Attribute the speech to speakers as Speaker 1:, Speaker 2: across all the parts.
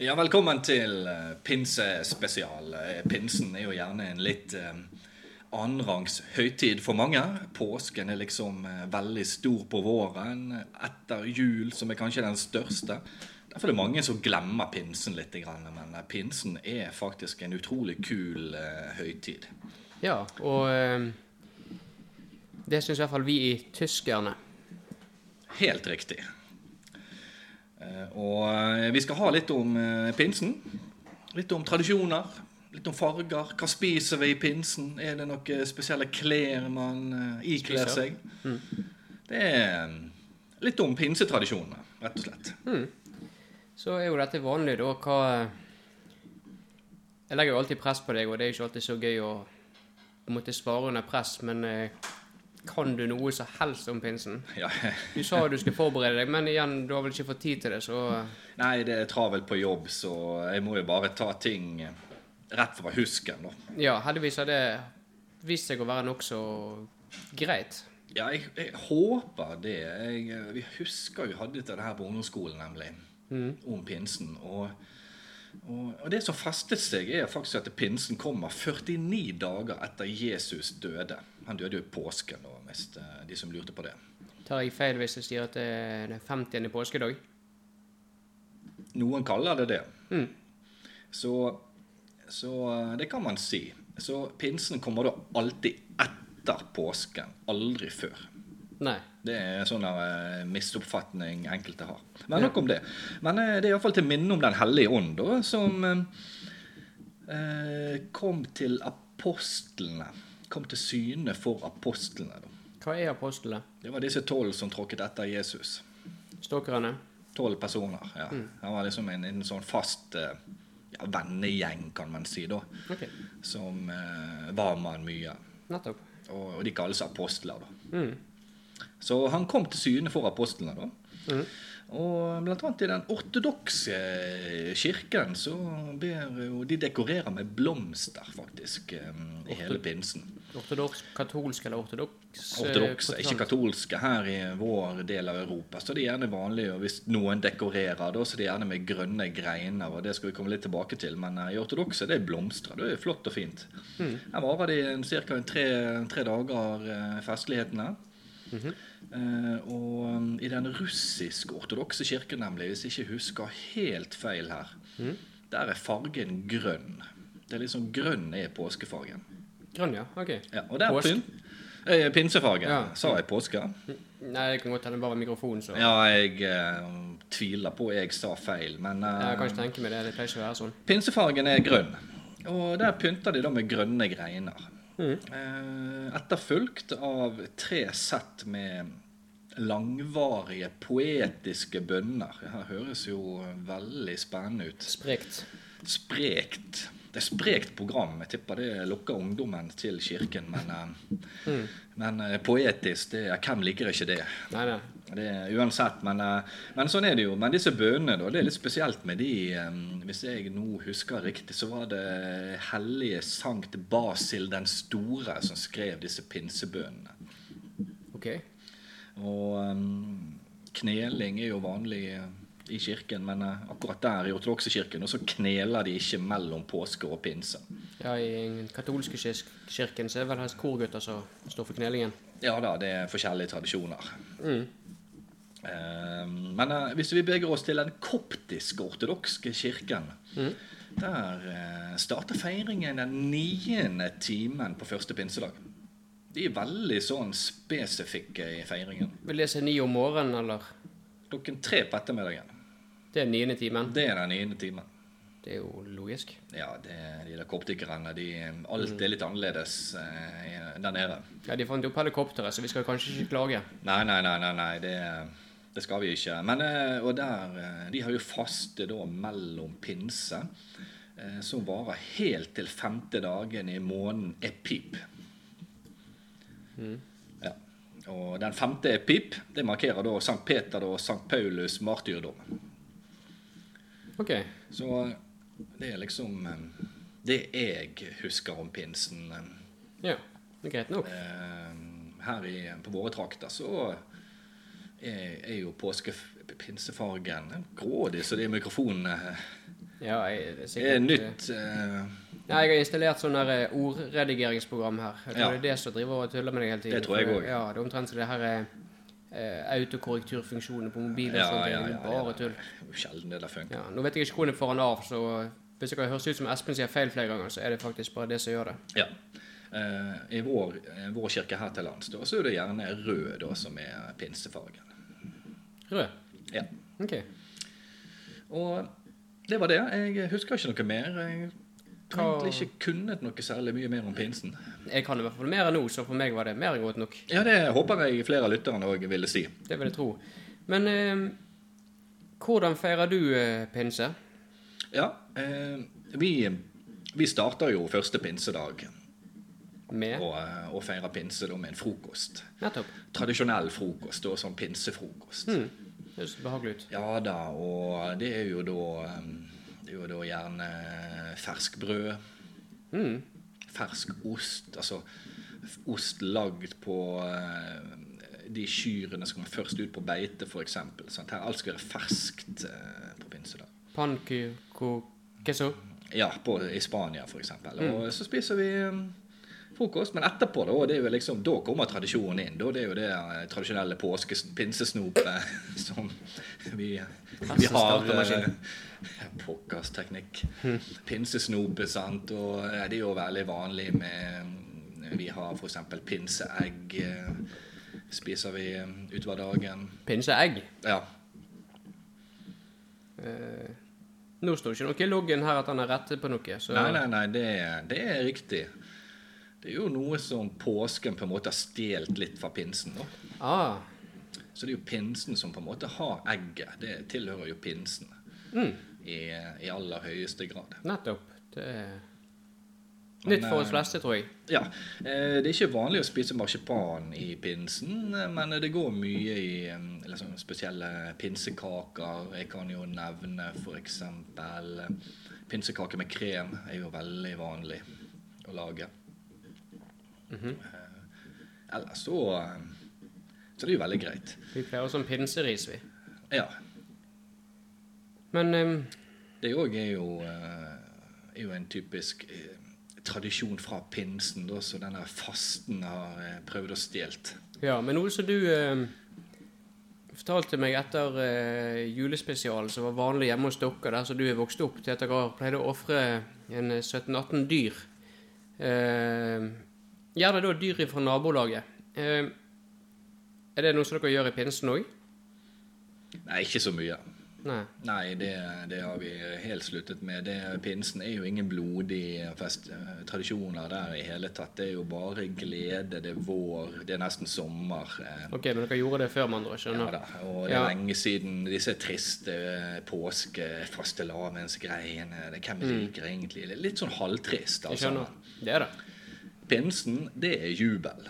Speaker 1: Ja, velkommen til eh, pinsespesial. Eh, Pinsen er jo gjerne en litt eh, annenrangs høytid for mange. Påsken er liksom eh, veldig stor på våren. Etter jul, som er kanskje den største. Derfor er det mange som glemmer pinsen litt, grann, men eh, pinsen er faktisk en utrolig kul eh, høytid.
Speaker 2: Ja, og eh, det syns i hvert fall vi i tyskerne.
Speaker 1: Helt riktig. Eh, Og eh, vi skal ha litt om eh, pinsen. Litt om tradisjoner. Litt om farger. Hva spiser vi i pinsen? Er det noen spesielle klær man eh, ikler
Speaker 2: Spiser.
Speaker 1: seg? Det er eh, litt om pinsetradisjonene, rett og slett.
Speaker 2: Så er jo dette vanlig, da. Hva eh, Jeg legger jo alltid press på deg, og det er jo ikke alltid så gøy å måtte svare under press, men eh, kan du noe som helst om pinsen?
Speaker 1: Ja.
Speaker 2: Du sa jo du skulle forberede deg, men igjen, du har vel ikke fått tid til det, så eh,
Speaker 1: Nei, det er travelt på jobb, så jeg må jo bare ta ting eh, rett fra husken, da.
Speaker 2: Ja, heldigvis har det vist seg å være nokså greit.
Speaker 1: Ja, jeg, jeg håper det. Jeg, eh, vi husker jo hadde dette her på ungdomsskolen, nemlig. Om pinsen. Og, og, og det som festet seg, er faktisk at pinsen kommer 49 dager etter Jesus døde. Han døde jo i påsken, da, hvis eh, de som lurte på det.
Speaker 2: Tar jeg feil hvis jeg sier at det er den 50. påskedag?
Speaker 1: Noen kaller det det.
Speaker 2: Mm.
Speaker 1: Så, så eh, det kan man si. Så pinsen kommer da alltid etter påsken. Aldri før.
Speaker 2: Nei.
Speaker 1: Det er en sånn eh, misoppfatning enkelte har. Men nok om det. Men eh, det er iallfall til minne om Den hellige ånd, da, som eh, eh, kom til apostlene. Kom til syne for apostlene. Da.
Speaker 2: Hva er apostlene?
Speaker 1: Det var disse tolv som tråkket etter Jesus.
Speaker 2: Stalkerne?
Speaker 1: Tolv personer. ja. Han var liksom en, en sånn fast eh, ja, vennegjeng, kan man si, da,
Speaker 2: Ok,
Speaker 1: som eh, var med han mye.
Speaker 2: nettopp.
Speaker 1: Og, og de kalles apostler, da.
Speaker 2: Mm.
Speaker 1: Så han kom til syne for apostlene, da.
Speaker 2: Mhm.
Speaker 1: Og blant annet i den ortodokse kirken så ber jo De dekorerer med blomster, faktisk, eh, i hele pinsen.
Speaker 2: Ortodoksk, katolsk eller ortodoks? eh,
Speaker 1: Ortodokse, ikke
Speaker 2: protestant?
Speaker 1: katolske, her i vår del av Europa. Så det er gjerne vanlig, og hvis noen dekorerer, da, så er det gjerne med grønne greiner, og det skal vi komme litt tilbake til. Men eh, i ortodokse, det er blomster. Det er flott og fint. Her varer de ca. Tre, tre dager, eh, festlighetene. Eh, og um, i den russisk-ortodokse kirken, nemlig, hvis jeg ikke husker helt feil her, der er fargen grønn. Det er liksom grønn er påskefargen.
Speaker 2: Grønn, ja. Ok.
Speaker 1: Ja, og der
Speaker 2: Påske.
Speaker 1: pyn... Eh, pinsefargen.
Speaker 2: Ja.
Speaker 1: Sa jeg påske?
Speaker 2: Nei, det kan godt hende det bare var mikrofonen, så
Speaker 1: Ja, jeg eh, tviler på jeg sa feil, men eh,
Speaker 2: jeg kan ikke tenke meg det. Det pleier ikke å være sånn.
Speaker 1: Pinsefargen er grønn, og der pynter de da med grønne greiner.
Speaker 2: Mm.
Speaker 1: Eh, Etterfulgt av tre sett med langvarige, poetiske bønner. Det her høres jo veldig spennende ut.
Speaker 2: Sprekt.
Speaker 1: Sprekt. Det er sprekt program. Jeg tipper det lokker ungdommen til kirken, men, eh, men eh, poetisk, det, ja, hvem liker ikke det?
Speaker 2: Mm. Nei, nei.
Speaker 1: Det, uansett, men, eh, men sånn er det jo. Men disse bønene, da, det er litt spesielt med de eh, Hvis jeg nå husker riktig, så var det hellige Sankt Basil den store som skrev disse pinsebønene.
Speaker 2: Ok.
Speaker 1: Og eh, kneling er jo vanlig eh, i kirken, men eh, akkurat der i ortodokse kirken og så kneler de ikke mellom påske og pinse.
Speaker 2: Ja, i den katolske kis- kirken så er det vel helst korgutter som står for knelingen.
Speaker 1: Ja da, det er forskjellige tradisjoner.
Speaker 2: Mm.
Speaker 1: Eh, Men eh, hvis vi beger oss til den koptiske ortodokske kirken, der eh, starter feiringen den niende timen på første pinsedag. De er veldig sånn spesifikke i feiringen.
Speaker 2: Vil det si ni om morgenen, eller?
Speaker 1: Klokken tre på ettermiddagen.
Speaker 2: Det er niende timen.
Speaker 1: Det er den niende timen.
Speaker 2: Det er jo logisk.
Speaker 1: Ja, det, de der koptikerne, de, eh, alt er litt annerledes eh, der nede.
Speaker 2: Ja, de fant jo opp helikopteret, så vi skal kanskje ikke klage.
Speaker 1: Nei, nei, nei, nei, nei det, det skal vi ikke. Men, eh, og der, eh, De har jo faste da mellom pinse, eh, som varer helt til femte dagen i måneden epip. Ja. Og den femte epip det markerer da Sankt Peter og Sankt Paulus martyrdom.
Speaker 2: Ok.
Speaker 1: Så eh, det er liksom eh, det jeg husker om pinsen. eh,
Speaker 2: Ja. Det er greit nok.
Speaker 1: Eh, her i, på våre trakter så er, er jo påskepinsefargen grådig, så de mikrofonene
Speaker 2: Ja, jeg, det er
Speaker 1: Det er
Speaker 2: sikkert,
Speaker 1: nytt eh,
Speaker 2: Nei, jeg har installert sånn der eh, ordredigeringsprogram her. Jeg tror
Speaker 1: Ja.
Speaker 2: det er det som driver og tuller med deg hele tiden.
Speaker 1: Det tror jeg
Speaker 2: For
Speaker 1: også.
Speaker 2: Ja, det er omtrent som det her eh, eh, autokorrekturfunksjonen på mobilen.
Speaker 1: Ja,
Speaker 2: og sånt,
Speaker 1: ja,
Speaker 2: det er
Speaker 1: ja,
Speaker 2: jo
Speaker 1: ja.
Speaker 2: bare tull.
Speaker 1: det er jo Sjelden det der funker.
Speaker 2: Ja, nå vet jeg ikke hvor den får den av, så hvis det kan høres ut som Espen sier feil flere ganger, så er det faktisk bare det som gjør det.
Speaker 1: Ja. Eh, I vår, eh, vår kirke her til lands da, så er det gjerne rød da, som er pinsefargen.
Speaker 2: Rød.
Speaker 1: Ja.
Speaker 2: Ok.
Speaker 1: Og det var det. Jeg husker ikke noe mer. Jeg tror
Speaker 2: Hva-
Speaker 1: egentlig ikke kunnet noe særlig mye mer om pinsen.
Speaker 2: Jeg kan i hvert fall mer enn nå, så for meg var det mer enn godt nok.
Speaker 1: Ja, det håper jeg flere av lytterne òg ville si.
Speaker 2: Det vil jeg tro. Men eh, hvordan feirer du eh, pinse?
Speaker 1: Ja, eh, vi, vi starter jo første pinsedag
Speaker 2: Med?
Speaker 1: og, eh, og feirer pinse da med en frokost.
Speaker 2: Nettopp.
Speaker 1: Tradisjonell frokost, da, sånn pinsefrokost.
Speaker 2: Mm. Det høres behagelig ut.
Speaker 1: Ja da, og det er jo da ehm, Det er jo da gjerne ferskbrød,
Speaker 2: Mm.
Speaker 1: fersk ost, altså f- ost lagd på eh, de kyrne som kommer først ut på beite, f.eks. Alt skal være ferskt eh, på pinsedag.
Speaker 2: Pannkoko... Queso?
Speaker 1: Ja, på, i Spania, f.eks. eksempel Og så spiser vi ehm, frokost, men etterpå, da, det er jo liksom, da kommer tradisjonen inn. Da det er jo det eh, tradisjonelle påske-pinsesnopet som vi, vi har eh,
Speaker 2: Kassestartermaskin.
Speaker 1: Pokkers teknikk. Pinsesnop, er sant, og eh, det er jo veldig vanlig med Vi har f.eks. pinseegg. eh, Spiser vi eh, utover dagen.
Speaker 2: Pinseegg?
Speaker 1: Ja.
Speaker 2: Eh, nå står det ikke noe i loggen her at han har rettet på noe, så
Speaker 1: Nei, nei, nei, det, det er riktig. Det er jo noe som påsken på en måte har stjålet litt fra pinsen. nå.
Speaker 2: Ah,
Speaker 1: Så det er jo pinsen som på en måte har egget. Det tilhører jo pinsen i, i aller høyeste grad.
Speaker 2: mm, nettopp. Det er nytt for oss fleste, tror jeg.
Speaker 1: Ja, eh, Det er ikke vanlig å spise marsipan i pinsen, eh, men det går mye i eh, liksom, spesielle pinsekaker. Jeg kan jo nevne f.eks. pinsekake med krem er jo veldig vanlig å lage. Eh, Ellers så eh, Så det er jo veldig greit.
Speaker 2: Vi pleier oss som pinseris, vi.
Speaker 1: Ja.
Speaker 2: Men ehm,
Speaker 1: Det òg er jo eh, er jo en typisk eh, tradisjon fra pinsen, da, så denne fasten har eh, prøvd å stjele.
Speaker 2: Ja, men noe som du ehm, fortalte meg etter eh, julespesialen som var vanlig hjemme hos dere, der som du er vokst opp, til at dere pleide å ofre en eh, 17-18 dyr. Uh, gjerne da dyr fra nabolaget. Eh, er det noe som dere gjør i pinsen òg?
Speaker 1: Nei, ikke så mye.
Speaker 2: Nei.
Speaker 1: Nei, det, det har vi helt sluttet med. Det, pinsen er jo ingen blodig fest, eh, tradisjoner der i hele tatt. Det er jo bare glede, det er vår, det er nesten sommer. eh,
Speaker 2: Ok, men dere gjorde det før, med andre,
Speaker 1: Ja,
Speaker 2: skjønner.
Speaker 1: da. Og det er
Speaker 2: Ja.
Speaker 1: lenge siden disse triste eh, påskefastelavnsgreiene. det- Hvem liker egentlig? Det er Litt sånn halvtrist,
Speaker 2: Mm. Jeg
Speaker 1: altså.
Speaker 2: skjønner. Det er det.
Speaker 1: Pinsen, det er jubel.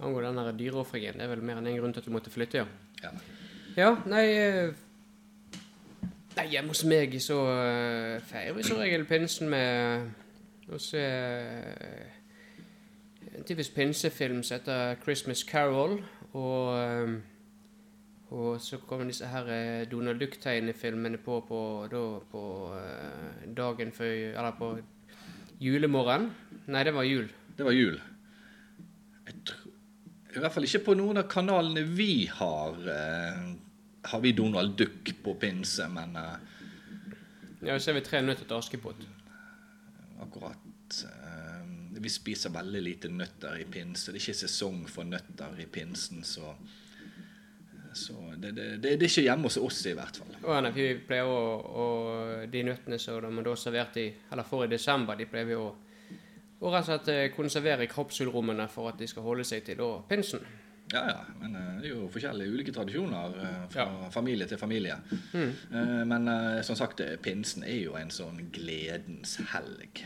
Speaker 2: Angående den der dyreofringen, det er vel mer enn én grunn til at du måtte flytte, ja.
Speaker 1: Ja.
Speaker 2: Ja, nei eh, Nei, hjemme hos meg så eh, feirer vi som regel pinsen med å se eh, en typisk pinsefilm som heter 'Christmas Carol'. Og, eh, og så kommer disse her eh, Donald Duck-tegnefilmene på på, da, på eh, dagen før Eller på julemorgen. Nei, det var jul.
Speaker 1: Det var jul. Jeg tror, I hvert fall ikke på noen av kanalene vi har. Eh, har vi Donald Duck på pinse, men eh,
Speaker 2: Ja, Så er vi tre nøtter til Askepott.
Speaker 1: akkurat eh, Vi spiser veldig lite nøtter i pinse. Det er ikke sesong for nøtter i pinsen, så, så det, det, det, det er ikke hjemme hos oss, i hvert fall.
Speaker 2: Og NFU pleier å, å De nøttene som de da serverte i, eller får i desember, de pleier vi å å rett og slett eh, konservere i kapsulrommene for at de skal holde seg til da pinsen.
Speaker 1: Ja, ja, men eh, det er jo forskjellige ulike tradisjoner eh, fra familie til familie. Eh, Men eh, som sagt, eh, pinsen er jo en sånn gledens helg.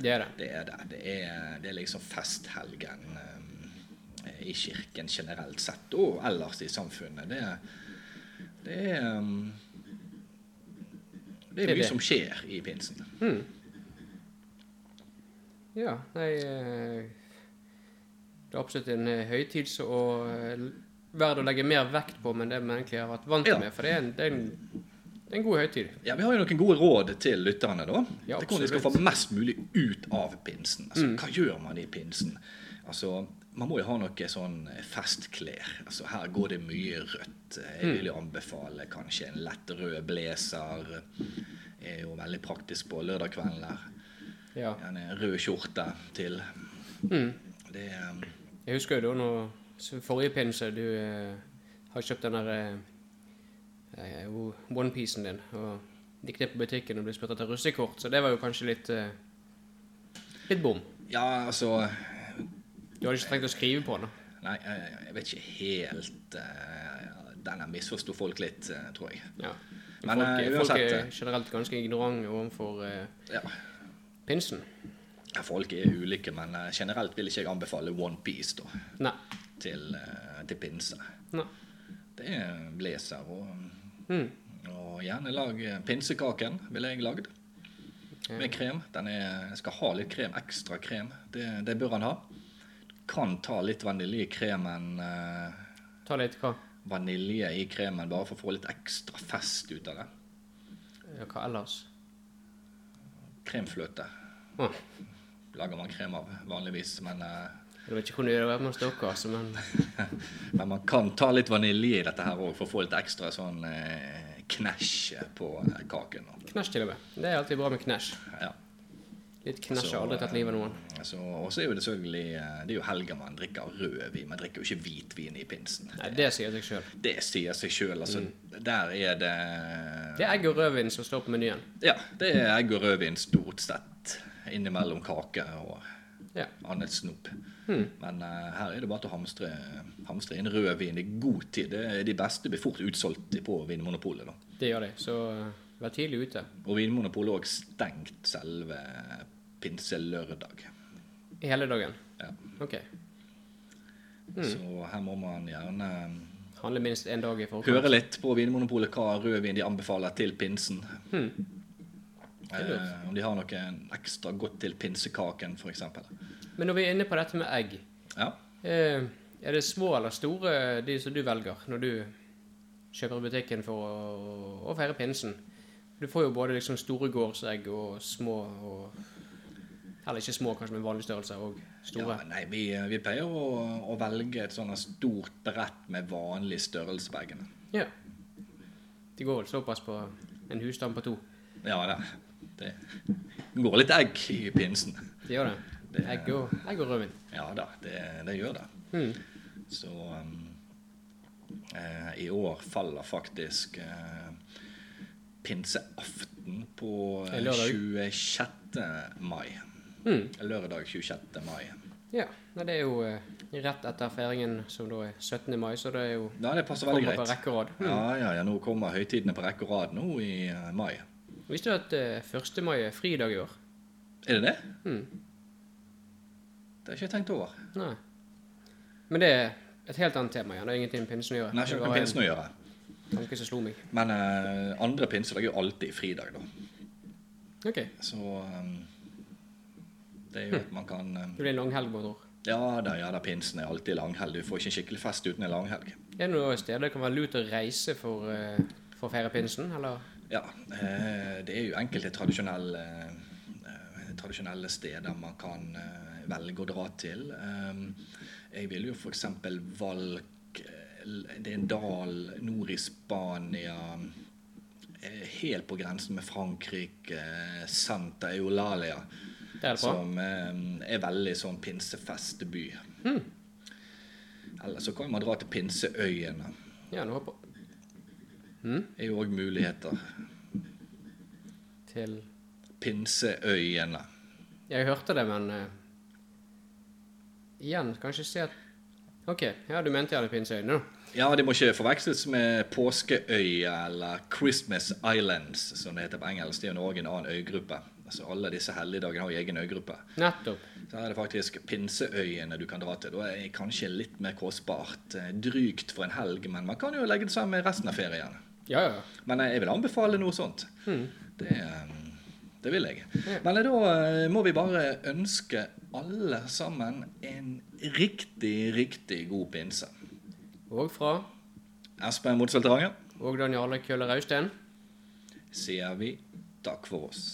Speaker 2: Det er det.
Speaker 1: Det er det. Det er, det er liksom festhelgen eh, i kirken generelt sett, og ellers i samfunnet. Det, er- det er eh, Det
Speaker 2: Det
Speaker 1: er
Speaker 2: er
Speaker 1: mye
Speaker 2: det.
Speaker 1: som skjer i pinsen.
Speaker 2: Ja, nei eh, Det er absolutt en eh, høytid eh, som er verdt å legge mer vekt på men det man egentlig har vært vant
Speaker 1: Ja.
Speaker 2: med. For det er en, det er en det er en god høytid.
Speaker 1: Ja, Vi har jo noen gode råd til lytterne. da.
Speaker 2: Ja,
Speaker 1: til hvordan de skal få
Speaker 2: absolutt. Mm.
Speaker 1: mest mulig ut av pinsen. Altså, Hva gjør man i pinsen? Altså, Man må jo ha noe sånn festklær. Altså, Her går det mye rødt. Jeg
Speaker 2: Mm.
Speaker 1: vil jo anbefale kanskje en lett rød blazer. Er jo veldig praktisk på lørdagskvelden der.
Speaker 2: Ja.
Speaker 1: Gjerne En rød skjorte til.
Speaker 2: Mm.
Speaker 1: Det um,
Speaker 2: Jeg husker jo da når så forrige pinse du eh, har kjøpt den der eh, eh, onepiecen din, og gikk ned på butikken og ble spurt etter russekort, så det var jo kanskje litt eh, litt bom.
Speaker 1: Ja, altså
Speaker 2: Du hadde ikke trengt å skrive på den. da.
Speaker 1: Nei, jeg, jeg vet ikke helt uh, Denne misforsto folk litt, eh, tror jeg.
Speaker 2: Ja.
Speaker 1: Men,
Speaker 2: folk,
Speaker 1: eh,
Speaker 2: folk
Speaker 1: uansett,
Speaker 2: er
Speaker 1: eh,
Speaker 2: generelt ganske ignorante overfor eh,
Speaker 1: Ja.
Speaker 2: pinsen.
Speaker 1: Ja, Folk er ulike, men eh, generelt vil ikke jeg anbefale OnePiece da,
Speaker 2: Nei.
Speaker 1: til, eh, til pinse.
Speaker 2: Nei.
Speaker 1: Det er blazer og,
Speaker 2: Mm.
Speaker 1: og gjerne lag eh, pinsekaken, ville jeg lagd.
Speaker 2: Ja.
Speaker 1: Med krem. Den er, skal ha litt krem, ekstra krem. Det, det bør han ha. Kan ta litt vanilje i kremen, eh,
Speaker 2: Ta litt hva?
Speaker 1: vanilje i kremen bare for å få litt ekstra fest ut av det.
Speaker 2: Ja, hva ellers?
Speaker 1: Kremfløte
Speaker 2: Å,
Speaker 1: lager man krem av vanligvis, men, eh,
Speaker 2: jeg vet ikke hvordan det var med oss dere, altså, men
Speaker 1: men man kan ta litt vanilje i dette her òg for å få litt ekstra sånn eh, knæsj på eh, kaken. Og.
Speaker 2: knæsj til og med. Det er alltid bra med knæsj.
Speaker 1: Ja.
Speaker 2: Litt knæsj
Speaker 1: Så,
Speaker 2: har aldri tatt livet av noen.
Speaker 1: Så, og så er jo det selvfølgelig eh, Det er jo helger man drikker rødvin. Man drikker jo ikke hvitvin i pinsen.
Speaker 2: Nei, det sier seg sjøl.
Speaker 1: Det sier seg sjøl. Altså, Der er det
Speaker 2: Det er egg og rødvin som står på menyen.
Speaker 1: Ja, det er egg og rødvin stort sett. Innimellom kake og
Speaker 2: Ja.
Speaker 1: annet snop. Men eh, her er det bare til å hamstre, hamstre inn rødvin i god tid. Det er de beste blir fort utsolgt på Vinmonopolet. da.
Speaker 2: Det gjør de. Så eh, vær tidlig ute.
Speaker 1: Og Vinmonopolet er òg stengt selve pinselørdag.
Speaker 2: I hele dagen.
Speaker 1: Ja.
Speaker 2: OK. Mm.
Speaker 1: Så her må man gjerne
Speaker 2: Handle minst én dag i forkant.
Speaker 1: høre litt på Vinmonopolet hva rødvin de anbefaler til pinsen.
Speaker 2: Mm. er lurt.
Speaker 1: Eh, om de har noe ekstra godt til pinsekaken, f.eks.
Speaker 2: Men når vi er inne på dette med egg,
Speaker 1: Ja.
Speaker 2: eh, er det små eller store de som du velger når du kjøper i butikken for å, å feire pinsen? Du får jo både liksom store gårdsegg og små og Eller ikke små, kanskje, men vanlig størrelse og store.
Speaker 1: ja nei, vi, vi pleier å, å velge et sånt stort brett med vanlig størrelse på eggene.
Speaker 2: Ja. Det går vel såpass på en husstand på to.
Speaker 1: Ja, det, det går litt egg i pinsen.
Speaker 2: Det gjør det.
Speaker 1: Det-
Speaker 2: Egg og, egg og rødvin.
Speaker 1: Ja da, det, det gjør det.
Speaker 2: Mm.
Speaker 1: Så um, eh, i år faller faktisk eh, pinseaften på eh,
Speaker 2: En lørdag.
Speaker 1: 26. mai.
Speaker 2: Mm.
Speaker 1: Lørdag 26. mai.
Speaker 2: Ja, nei, det er jo eh, rett etter feiringen, som da er 17. mai, så det er jo
Speaker 1: Ja, det passer veldig
Speaker 2: kommer på
Speaker 1: greit.
Speaker 2: hmm. rekke og rad.
Speaker 1: Ja, ja, ja, nå kommer høytidene på rekke og rad nå i eh, mai.
Speaker 2: Visste du at eh, 1. mai er fridag i år?
Speaker 1: Er det det?
Speaker 2: Mm.
Speaker 1: Det har jeg ikke tenkt over.
Speaker 2: Nei. Men det er et helt annet tema igjen. Det har ingenting med pinsen å gjøre.
Speaker 1: Men det har
Speaker 2: Det
Speaker 1: ikke noe
Speaker 2: var
Speaker 1: med pinsen å gjøre.
Speaker 2: en tanke som slo meg.
Speaker 1: Men eh, andre pinsedag er jo alltid fridag, da.
Speaker 2: Ok,
Speaker 1: Så um, det er
Speaker 2: Hmm.
Speaker 1: jo at man kan um,
Speaker 2: det blir en lang helg, både år.
Speaker 1: Ja da, ja da, pinsen er alltid langhelg. Du får ikke en skikkelig fest uten en langhelg.
Speaker 2: Er det noe sted det kan være lurt å reise for, eh, for å feire pinsen, eller?
Speaker 1: Ja, eh, det er jo enkelte tradisjonelle, eh, tradisjonelle steder man kan eh, velge å dra til. Eh, Jeg ville jo f.eks. valgt eh, Det er en dal nord i Spania eh, Helt på grensen med Frankrike, eh, Santa Eulalia,
Speaker 2: Der er det bra.
Speaker 1: som eh, er veldig sånn pinsefestby. Eller så kan man dra til Pinseøyene.
Speaker 2: Ja, nå hopper
Speaker 1: Det er jo òg muligheter.
Speaker 2: til...
Speaker 1: Pinseøyene.
Speaker 2: Jeg hørte det, men... eh, igjen, kanskje se at... Ok, ja, du mente jeg hadde pinseøyne, da.
Speaker 1: Ja, de må ikke forveksles med Påskeøya eller Christmas Islands, som det heter på engelsk. Det er jo Norge en annen øygruppe. Altså Alle disse helligdagene har jo egen øygruppe.
Speaker 2: Nettopp.
Speaker 1: Så her er det faktisk Pinseøyene du kan dra til. Da er det kanskje litt mer kostbart. eh, Drygt for en helg, men man kan jo legge det sammen med resten av ferien.
Speaker 2: Ja, ja.
Speaker 1: Men eh, jeg vil anbefale noe sånt. Det, eh, det vil jeg.
Speaker 2: Ja.
Speaker 1: Men eh, da eh, må vi bare ønske alle sammen en riktig, riktig god pinse.
Speaker 2: Og fra
Speaker 1: Espen Motsveldt Ranger.
Speaker 2: Og Daniel Køhler Austen.
Speaker 1: sier vi takk for oss.